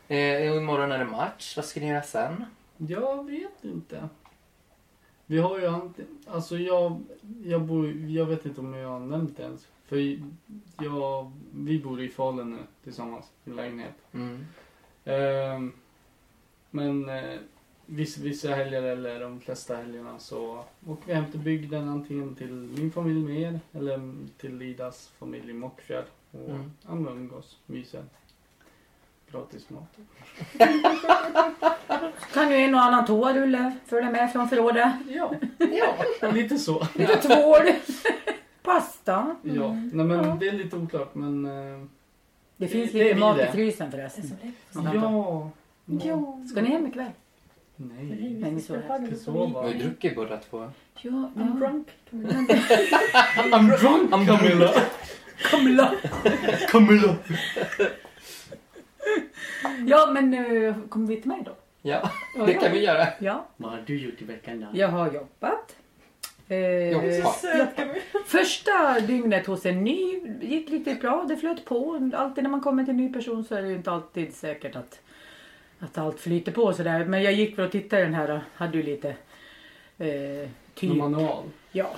S2: Eh, och imorgon är det match. Vad ska ni göra sen?
S5: Jag vet inte. Vi har ju ant- alltså jag, jag bor, jag vet inte om jag har nämnt det ens. För jag, vi bor i Falun nu tillsammans i lägenhet.
S2: Mm.
S5: Ehm, men eh, vissa, vissa helger eller de flesta helgerna så åker vi hem till bygden antingen till min familj med er eller till Lidas familj i Mockfjärd och
S2: Mm.
S5: ja, men umgås, myser. Gratis mat.
S4: Kan ju en och annan toarulle följa med från förrådet.
S5: Ja,
S2: Ja.
S5: [laughs] lite så.
S4: Lite tvål. Pasta.
S5: Ja, nej men det är lite oklart men... eh,
S4: Det finns
S5: Det-
S4: lite
S5: det är
S4: mat
S5: vi det.
S4: i frysen förresten.
S5: Mm. ja.
S1: Jo.
S4: Ska ni hem ikväll?
S5: Nej.
S4: Nej,
S1: vi
S4: vi sov
S1: skulle ha
S5: Vi
S1: det
S5: sov,
S1: som
S2: Vi har ju
S1: vi-
S2: druckit båda två.
S4: Ja,
S1: I'm
S4: [laughs]
S1: drunk.
S5: I'm drunk
S2: I'm drunk.
S5: Camilla!
S4: Kamla.
S5: [laughs] Camilla!
S4: Ja, men eh, kommer vi till mig då?
S2: Ja,
S4: Ja,
S2: det
S4: ja.
S2: kan vi göra.
S4: Ja,
S5: Vad har du gjort i veckan då?
S4: jag har jobbat. Eh,
S2: Jobbat.
S1: Söka mig.
S4: Första dygnet hos en ny gick riktigt bra. Det flöt på. Alltid när man kommer till en ny person så är det ju inte alltid säkert att, att allt flyter på sådär. Men jag gick för att titta i den här. Hade ju lite eh, typ.
S5: Manual. [clears throat]
S4: Ja.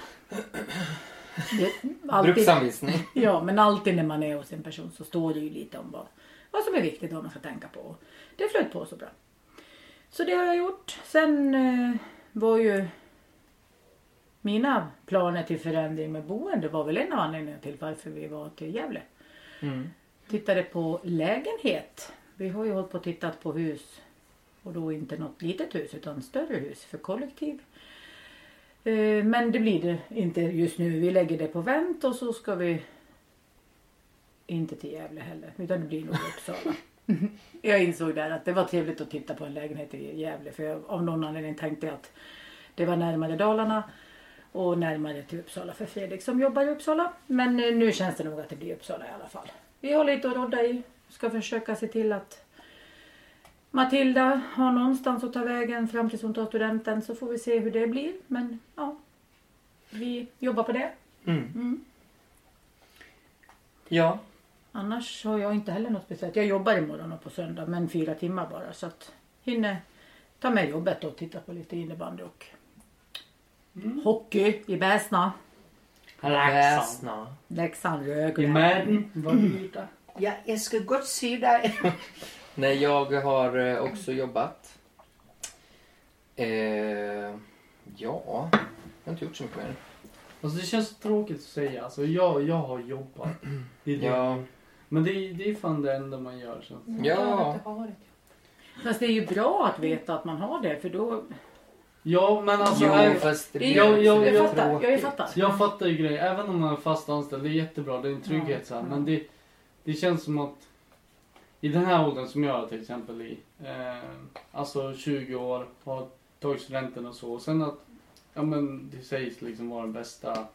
S4: Det, alltid,
S2: Bruksanvisning.
S4: [laughs] ja, men alltid när man är hos en person så står det ju lite om vad, vad som är viktigt och vad man ska tänka på. Det flöt på så bra. Så det har jag gjort. Sen eh, var ju mina planer till förändring med boende var väl en av anledningarna till varför vi var till Gävle.
S2: Mm.
S4: Tittade på lägenhet. Vi har ju hållit på och tittat på hus. Och då inte något litet hus utan större hus för kollektiv. Eh, Men det blir det inte just nu. Vi lägger det på vänt och så ska vi inte till Gävle heller utan det blir nog Uppsala. jag insåg där att det var trevligt att titta på en lägenhet i Gävle för jag av någon anledning tänkte jag att det var närmare Dalarna och närmare till Uppsala för Fredrik som jobbar i Uppsala. Men eh, nu känns det nog att det blir Uppsala i alla fall. Vi håller lite att rodda i. Ska försöka se till att Matilda har någonstans att ta vägen fram tills hon tar studenten så får vi se hur det blir. Men ja, vi jobbar på det.
S2: Mm. Ja.
S4: Annars har jag inte heller något speciellt. Jag jobbar imorgon och på söndag men fyra timmar bara så att hinner ta med jobbet och titta på lite innebandy och
S2: Mm.
S4: hockey i Bäsna.
S5: Relaxan.
S2: Väsna.
S4: Leksand, Rögle.
S5: I Madden. Mm. Vad har du gjort då?
S2: Ja, jag ska gott se dig. [laughs] Nej, jag har eh, också jobbat. Eh, ja, jag har inte gjort så mycket mer.
S5: Alltså det känns tråkigt att säga. Alltså jag, jag har jobbat. Det är det.
S2: Ja,
S5: Men det är, det är fan det enda man gör. Så.
S2: ja.
S4: Fast det är ju bra att veta att man har det för då...
S5: Ja men alltså.
S2: Jo,
S5: jag,
S2: fast det blir
S5: Jag- jag-
S2: så det är
S4: jag fattar, jag
S2: tråkigt.
S4: fattar.
S5: jag fattar ju grejen. Även om man är fast anställd. Det är jättebra. Det är en trygghet så här. Men det, det känns som att. I den här åldern som jag är till exempel i. Eh, alltså 20 år. Har tagit studenten och så. Och sen att. Ja men det sägs liksom vara den bästa.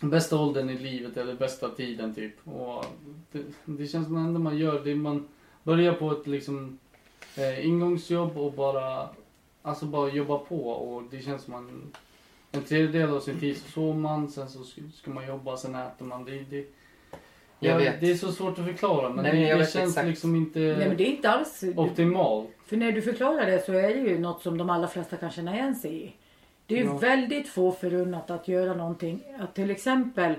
S5: Bästa åldern i livet eller bästa tiden typ. Och det, det känns som det enda man gör. Det är man börjar på ett liksom eh, ingångsjobb och bara. Alltså bara jobba på och det känns som man en tredjedel av sin tid så sover man, sen så sk- ska man jobba, sen äter man. Det, det,
S2: Jag
S5: ja,
S2: vet.
S5: det är så svårt att förklara men
S2: Nej, men
S5: det,
S2: jag
S5: det
S2: vet
S5: känns
S2: exakt.
S5: liksom inte
S4: Nej men det är inte alls...
S5: optimalt.
S4: För när du förklarar det så är det ju något som de allra flesta kan känna igen sig i. Det är ju
S2: Ja.
S4: väldigt få förunnat att göra någonting. Att till exempel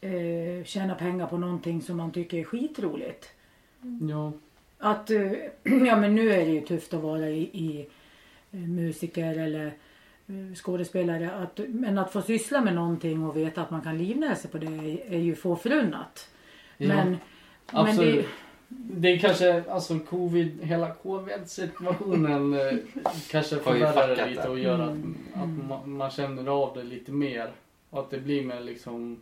S4: eh, tjäna pengar på någonting som man tycker är skitroligt.
S5: Ja,
S4: Att [clears throat] eh, ja men nu är det ju tufft att vara i, i eh, musiker eller eh, skådespelare. Att, men att få syssla med någonting och veta att man kan livnära sig på det är- är ju få förunnat.
S5: Ja,
S4: Men, men
S5: absolut.
S4: det,
S5: Det är kanske, alltså covid, hela covid-situationen eh, kanske
S2: Har ju
S5: förvärrar det
S2: fuckat
S5: lite
S2: det.
S5: och gör att, att ma- man känner av det lite mer. Och att det blir mer liksom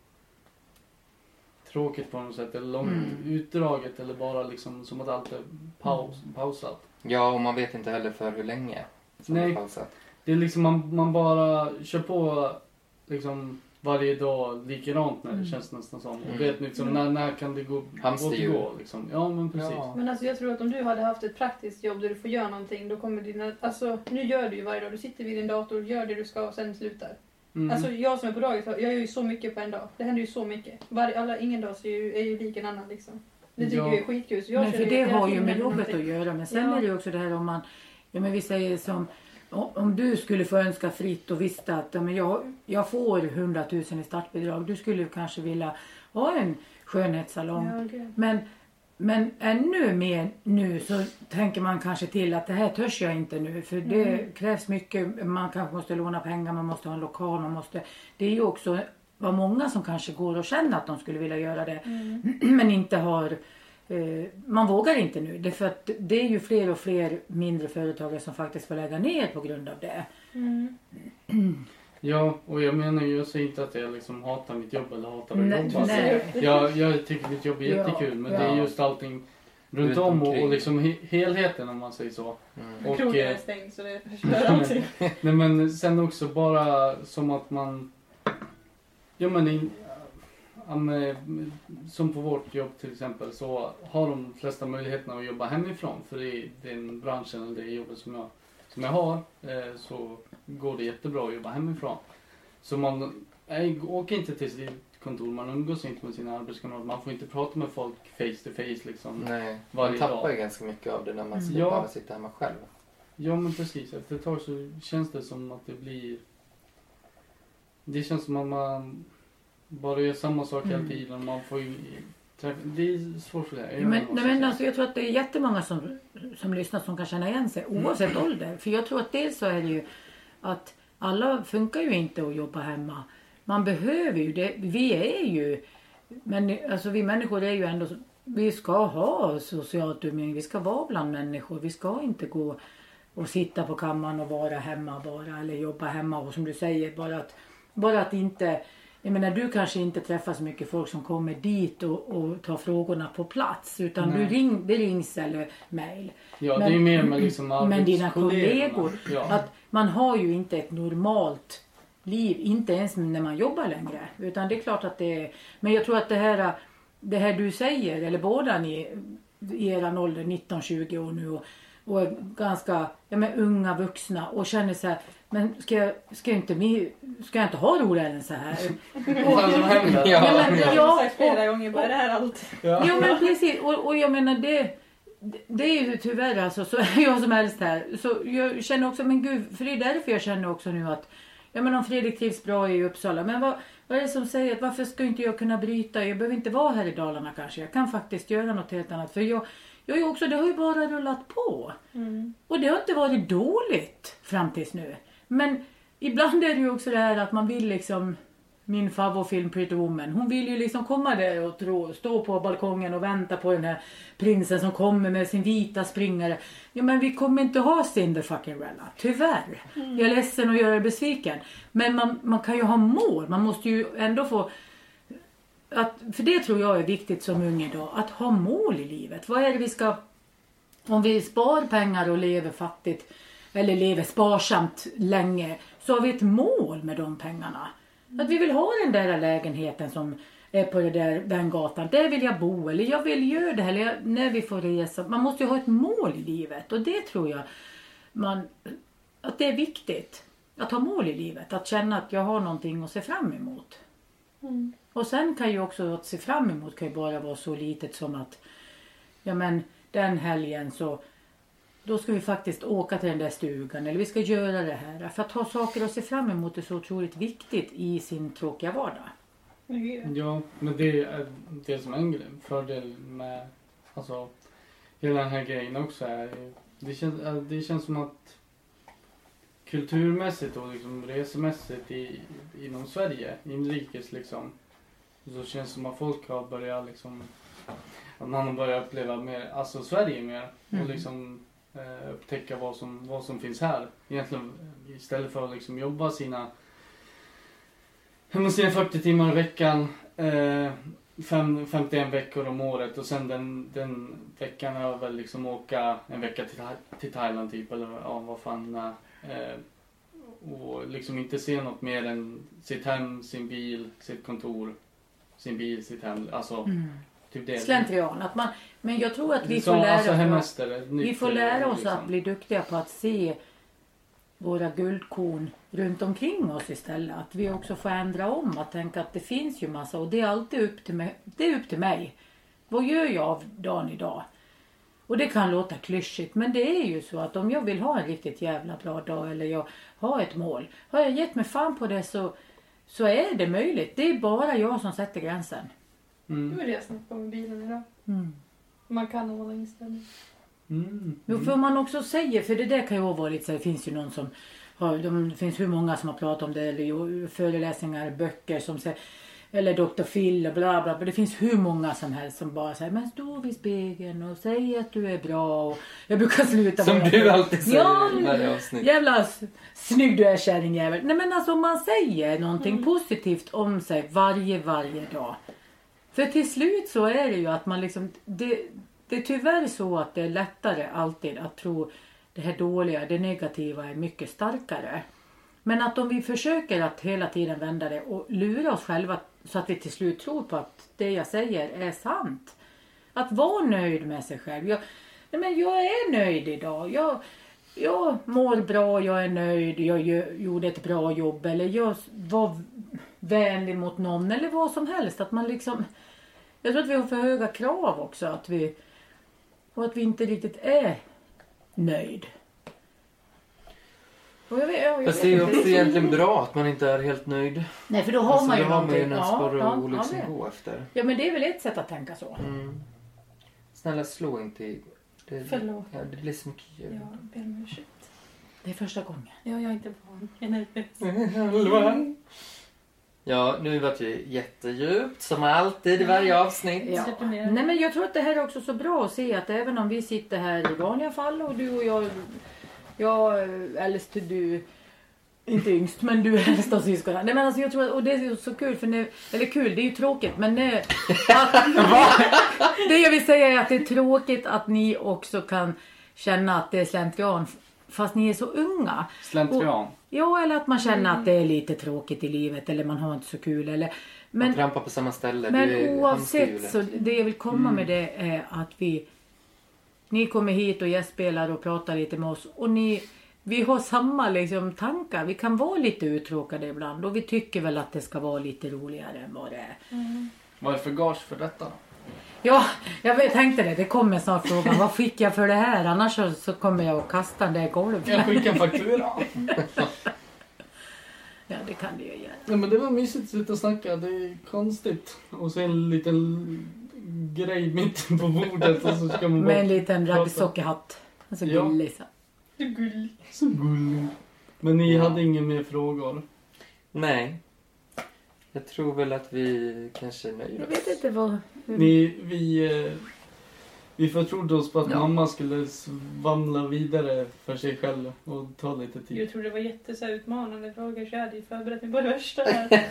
S5: tråkigt på något sätt eller långt utdraget eller bara liksom som att allt är paus, pausat.
S2: Ja, och man vet inte heller för hur länge. som
S5: Nej.
S2: det pausat.
S5: Det är liksom man, man bara kör på liksom varje dag likadant när det känns nästan som.
S2: Mm.
S5: Och vet liksom när, när kan det gå
S2: Hamsterhjul.
S5: återgå liksom. Ja men precis.
S2: Ja.
S1: Men alltså jag tror att om du hade haft ett praktiskt jobb där du får göra någonting då kommer dina... Alltså nu gör du ju varje dag. Du sitter vid din dator, gör det du ska och sen slutar.
S5: Mm.
S1: Alltså jag som är på dagis, jag gör ju så mycket på en dag. Det händer ju så mycket. Varje, alla, ingen dag så är, ju, är ju lik en annan liksom. Det tycker
S5: Ja.
S1: jag är skitkul. Så jag
S4: men
S1: känner
S4: för det
S1: hela
S4: har ju
S1: tiden
S4: med jobbet
S1: någonting.
S4: att göra. Men sen
S1: Ja.
S4: är det ju också det här om man, ja men vi säger som, o- om du skulle få önska fritt och visste att ja, men jag, jag får 100 000 i startbidrag. Du skulle ju kanske vilja ha en skönhetssalong.
S1: Ja, gud.
S4: Men, men ännu mer nu så tänker man kanske till att det här törs jag inte nu för det
S1: Mm.
S4: krävs mycket. Man kanske måste låna pengar, man måste ha en lokal, man måste... Det är ju också vad många som kanske går och känner att de skulle vilja göra det
S1: Mm.
S4: [clears throat] men inte har... Eh, man vågar inte nu. Det är, för att det är ju fler och fler mindre företagare som faktiskt får lägga ner på grund av det.
S1: Mm.
S5: Ja, och jag menar ju, jag säger inte att jag liksom hatar mitt jobb eller hatar att
S4: Nej,
S5: jobba. Alltså,
S4: nej.
S5: Jag, jag tycker mitt jobb är
S4: Ja,
S5: jättekul men
S4: ja.
S5: det är just allting runt
S2: Runt
S5: om och,
S2: omkring.
S5: och liksom he, helheten om man säger så.
S2: Mm.
S5: Och,
S1: Krogen är
S5: eh,
S1: stängd så det förstör allting.
S5: nej men sen också bara som att man... Ja men, in, ja, men som på vårt jobb till exempel så har de flesta möjligheterna att jobba hemifrån för i den branschen eller det jobbet som jag, som jag har eh, så går det jättebra att jobba hemifrån. Så man nej, åker inte till sitt kontor, man umgås inte med sina arbetskamrater, man får inte prata med folk face to face liksom.
S2: Nej, man
S5: Varje
S2: tappar
S5: dag.
S2: ju ganska mycket av det när man ska
S5: Ja.
S2: bara sitta hemma själv.
S5: Ja men precis, efter ett tag så känns det som att det blir... Det känns som att man bara gör samma sak hela tiden. Man får ju... träffa- Det är svårt för det. här.
S4: Mm. Men,
S5: Jag
S4: nej,
S5: måste
S4: men
S5: säga.
S4: alltså, jag tror att det är jättemånga som, som lyssnar som kan känna igen sig oavsett ålder. För jag tror att dels så är det ju att alla funkar ju inte att jobba hemma. Man behöver ju det. Vi är ju, men, alltså, vi människor är ju ändå, vi ska ha socialt umgänge, vi ska vara bland människor. Vi ska inte gå och sitta på kammaren och vara hemma bara eller jobba hemma och som du säger bara att, bara att inte jag menar du kanske inte träffar så mycket folk som kommer dit och, och tar frågorna på plats utan du ring, det rings eller mejl.
S5: Ja,
S4: men-
S5: det är ju mer med liksom
S4: Men dina
S5: arbetskollegorna.
S4: kollegor.
S5: Ja.
S4: Att man har ju inte ett normalt liv, inte ens när man jobbar längre. Utan det är klart att det är, Men jag tror att det här, det här du säger, eller båda ni i eran ålder, 19-20 år nu och, och är ganska ja, men, unga vuxna och känner så här, men ska jag, ska jag, inte, mi- ska jag inte ha roligare än så här?
S5: Vad som händer?
S2: Ja.
S4: Ja, men,
S1: Jag har
S4: ja,
S1: sagt flera gånger bara det här är allt.
S5: Ja.
S4: Jo men precis och, och jag menar det det är ju tyvärr alltså så jag som helst här så jag känner också men gud för det är därför jag känner också nu att ja men om Fredrik trivs bra i Uppsala men vad, vad är det som säger att varför ska inte jag kunna bryta jag behöver inte vara här i Dalarna kanske jag kan faktiskt göra något helt annat för jag jag är ju också det har ju bara rullat på och det har inte varit dåligt fram tills nu men ibland är det ju också det här att man vill liksom min favoritfilm Pretty Woman. Hon vill ju liksom komma där och tro, stå på balkongen och vänta på den här prinsen som kommer med sin vita springare. Ja men vi kommer inte ha Cinderfuckingrella, tyvärr. Jag är ledsen att göra er besviken. Men man, man kan ju ha mål, man måste ju ändå få att, för det tror jag är viktigt som ung idag, att ha mål i livet. Vad är det vi ska... Om vi spar pengar och lever fattigt eller lever sparsamt länge så har vi ett mål med de pengarna. Att vi vill ha den där lägenheten som är på det där, den gatan. Där vill jag bo eller jag vill göra det här. Eller jag, när vi får resa. Man måste ju ha ett mål i livet och det tror jag man, att det är viktigt. Att ha mål i livet. Att känna att jag har någonting att se fram emot. Och sen kan ju också att se fram emot kan ju bara vara så litet som att ja men den helgen så då ska vi faktiskt åka till den där stugan eller vi ska göra det här. För att ha saker att se fram emot är så otroligt viktigt i sin tråkiga vardag.
S5: Ja, men det är det som är en grej. fördel med alltså, hela den här grejen också. Är, det, känns, det känns som att kulturmässigt och liksom resemässigt i, inom Sverige, inrikes liksom. Så känns det som att folk har börjat liksom, att man har börjat uppleva mer, alltså Sverige mer
S2: Mm.
S5: och liksom eh, upptäcka vad som, vad som finns här. Egentligen istället för att liksom jobba sina, ja, men sina 40 timmar i veckan, eh, fem, 51 veckor om året och sen den, den veckan har jag väl liksom åka en vecka till, Tha- till Thailand typ eller ja, vad fan när. Eh, och liksom inte se något mer än sitt hem, sin bil, sitt kontor, sin bil, sitt hem. Alltså, typ det.
S4: Mm. Slentrian. Att man, men jag tror att vi
S5: Så,
S4: får lära
S5: alltså,
S4: oss...
S5: hemester, ett nytt,
S4: Vi får lära oss
S5: liksom.
S4: att bli duktiga på att se våra guldkorn runt omkring oss istället. Att vi också får ändra om att tänka att det finns ju massa och det är alltid upp till mig. Det är upp till mig. Vad gör jag av dagen idag? Och det kan låta klyschigt men det är ju så att om jag vill ha en riktigt jävla bra dag eller jag har ett mål. Har jag gett mig fan på det så, så är det möjligt. Det är bara jag som sätter gränsen. Mm.
S1: Det
S5: Mm.
S1: var det jag snackade om med bilen idag. Man kan hålla inställning.
S5: Mm.
S4: Jo, för man också säger, för det där kan ju ha varit så här, det finns ju någon som har, de, det finns hur många som har pratat om det, eller ju- föreläsningar, böcker som säger, eller Dr. Phil och bla bla, bla. Det finns hur många som helst som bara säger, men stå vid spegeln och säg att du är bra. Och jag brukar sluta
S2: Som
S4: med-
S2: du alltid säger
S4: Ja,
S2: i varje avsnitt.
S4: Jävla s- snygg du är kärringjävel. Nej men alltså om man säger någonting positivt om sig varje, varje dag. För till slut så är det ju att man liksom, det, det är tyvärr så att det är lättare alltid att tro det här dåliga, det negativa är mycket starkare. Men att om vi försöker att hela tiden vända det och lura oss själva så att vi till slut tror på att det jag säger är sant. Att vara nöjd med sig själv. Jag, nej men jag är nöjd idag. Jag, jag mår bra, jag är nöjd, jag gö- gjorde ett bra jobb eller jag s- var vänlig mot någon eller vad som helst. Att man liksom... Jag tror att vi har för höga krav också. Att vi, och att vi inte riktigt är nöjd. Och jag vet, jag vet
S7: Fast det är ju
S4: inte.
S7: också egentligen bra att man inte är helt nöjd.
S4: Nej, för då har
S7: Alltså,
S4: man ju
S7: då har man ju
S4: någonting.
S7: en
S4: Ja,
S7: sporre
S4: ja,
S7: att liksom
S4: ja, det-
S7: gå efter.
S4: Ja, men det är väl ett sätt att tänka så.
S7: Mm. Snälla slå inte i... Det,
S1: Förlåt.
S7: Ja, det blir så mycket ljud.
S1: Jag ber om ursäkt.
S4: Det är första gången.
S1: Ja, jag är inte van. Jag är nervös.
S7: [laughs] Ja, nu vart det ju jättedjupt som alltid i varje avsnitt.
S4: Ja.
S1: Släpper ner.
S4: Nej, men jag tror att det här är också så bra att se att även om vi sitter här i vanliga fall och du och jag, jag eh, äldst du, inte yngst, men du är äldst av syskonen. Nej, men alltså jag tror att, och det är ju så kul för nu, eller kul, det är ju tråkigt, men nu, att, det jag vill säga är att det är tråkigt att ni också kan känna att det är slentrian fast ni är så unga.
S5: Slentrian.
S4: Ja, eller att man känner att det är lite tråkigt i livet eller man har inte så kul. Eller,
S7: Man
S4: men
S7: trampar på samma ställe. det är Mm.
S4: men
S7: ju
S4: oavsett
S7: hamsterhjulet.
S4: så det jag vill komma med det är att vi ni kommer hit och gästspelar och pratar lite med oss och ni vi har samma liksom, tankar. Vi kan vara lite uttråkade ibland och vi tycker väl att det ska vara lite roligare än vad det är.
S5: Vad är det för gage för detta?
S4: Ja, jag vet- tänkte det. Det kommer snart frågan. Vad fick jag för det här? Annars så, så kommer jag att kasta den där i
S5: Jag
S4: golvet.
S5: skickar en faktura.
S4: [laughs] Ja, det kan du ju göra.
S5: Nej men det var mysigt att sitta och snacka. Det är konstigt. Och sen en liten grej mitt på bordet och så ska man
S4: Med
S5: bara...
S4: en liten raggsockerhatt. Alltså
S5: Ja.
S4: gullig så.
S1: Du är gullig.
S5: Så gullig. Men ni hade inga mer frågor?
S7: Nej. Jag tror väl att vi kanske nöjer
S4: Jag
S7: oss.
S4: vet inte vad...
S5: Ni, vi, eh, vi förtrodde oss på att
S2: Ja.
S5: mamma skulle svamla vidare för sig själv och ta lite tid.
S1: Jag tror det var jätte, så här, utmanande frågor så jag hade ju förberett mig på det värsta. här.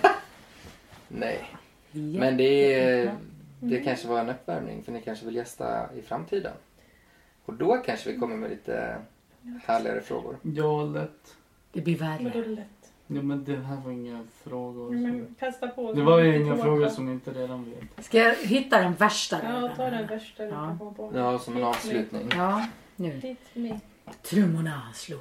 S7: Nej. Men det, är, det
S1: Mm.
S7: kanske var en uppvärmning för ni kanske vill gästa i framtiden. Och då
S4: Mm.
S7: kanske vi kommer med lite härligare frågor.
S5: Ja, lätt.
S4: Det blir
S1: Vadå
S4: värre.
S1: lätt?
S5: Ja, men det här var inga frågor.
S1: Ja,
S5: Som...
S1: Men kasta på.
S5: Det var ju
S1: Inte
S5: inga
S1: tårta.
S5: frågor som vi inte redan vet.
S4: Ska jag hitta den värsta?
S1: Ja, ta den värsta du
S4: Ja.
S1: kan komma på.
S7: Ja, som
S4: Mm.
S7: en avslutning.
S4: Ja, nu.
S1: Hit me.
S4: Trummorna slår.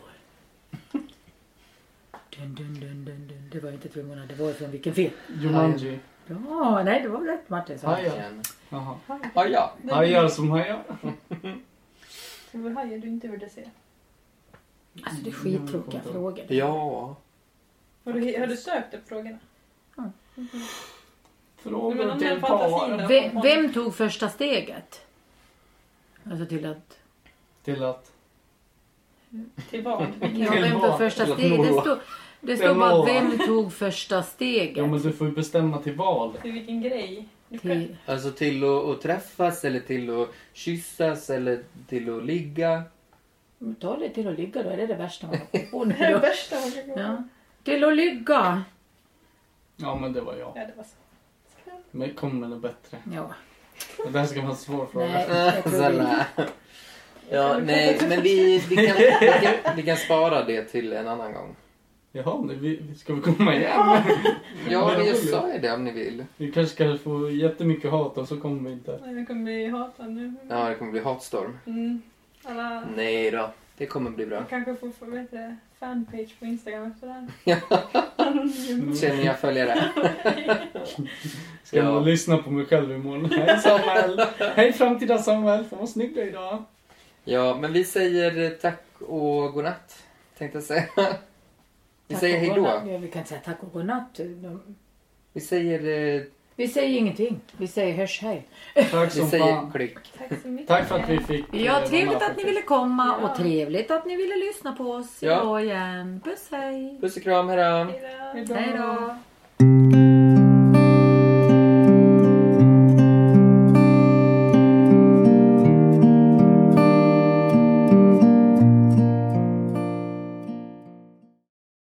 S4: Dun, dun, dun, dun, dun. Det var inte trummorna, det var från vilken film?
S5: Jumanji.
S4: Ja, nej det var rätt Martin. sa.
S5: Hajar. Jaha.
S7: Ja, Ah, ja.
S1: Den-
S5: Hajar som hajar.
S1: Det var hajar du inte ville se.
S4: Alltså det är skittråkiga frågor.
S7: Ja.
S1: Har du, har du sökt upp frågorna? Men
S5: Frågor
S1: om
S5: till
S1: den fantasin
S5: par.
S1: då?
S4: Ve- vem tog första steget? Alltså till att...
S5: Till att...
S1: Till vad? Vilken-
S4: Ja, vem tog första
S2: Eller
S4: steget? Det
S2: Nora.
S4: står, det
S5: Eller
S4: står bara
S5: Nora.
S4: vem tog första
S5: Ja, men
S4: steget?
S5: du får ju bestämma till val.
S1: Till vilken grej? Du kan...
S4: Till,
S2: Alltså till att, att träffas eller till att kyssas eller till att ligga.
S4: Men ta det till att ligga då, är det det värsta man har på nu
S1: [laughs] Det är det
S4: då?
S1: värsta hon kan komma
S4: ja. Till att ligga!
S5: Ja, men det var jag.
S1: Ja, det var så.
S5: Men kom med något bättre.
S4: Ja,
S5: Det här ska vara en svår
S4: nej,
S5: fråga.
S4: jag tror inte.
S2: Sådär. Ja, nej, men vi, vi, kan, vi, kan, vi kan spara det till en annan gång.
S5: Jaha, nu, vi, vi- ska vi komma [laughs] igen?
S2: Ja, men jag sa ju det om ni vill.
S5: Vi kanske ska få jättemycket hat och så kommer vi inte.
S1: Nej, vi kommer bli hatade nu.
S2: Ja, det kommer bli hatstorm.
S1: Mm. Alla...
S2: Nej då, det kommer bli bra.
S1: Jag kanske får, får vet du, fanpage på Instagram efter det här.
S5: Mm.
S2: Känner jag följare.
S5: Ska
S2: Ja.
S5: jag lyssna på mig själv [laughs] imorgon? Hej Samuel! Hej framtida Samuel! Fan vad snygg du är idag!
S2: Ja, men vi säger tack och godnatt, tänkte jag säga. Vi
S4: Tack
S2: säger
S4: och
S2: hej
S4: godnatt.
S2: då.
S4: Ja, vi kan säga tack och godnatt. De-
S2: Vi säger, eh,
S4: Vi säger ingenting. Vi säger hörs hej.
S5: Tack
S2: vi
S5: som
S2: säger
S5: fan!
S2: klick.
S1: Tack så mycket.
S5: Tack för att vi fick eh,
S4: Ja,
S5: vara
S4: trevligt
S5: med
S4: att ni
S5: faktiskt.
S4: ville komma
S1: Ja.
S4: och trevligt att ni ville lyssna på oss
S2: Ja.
S4: idag igen. Puss hej!
S2: Puss och kram, hejdå!
S1: Hej då.
S4: Hej då!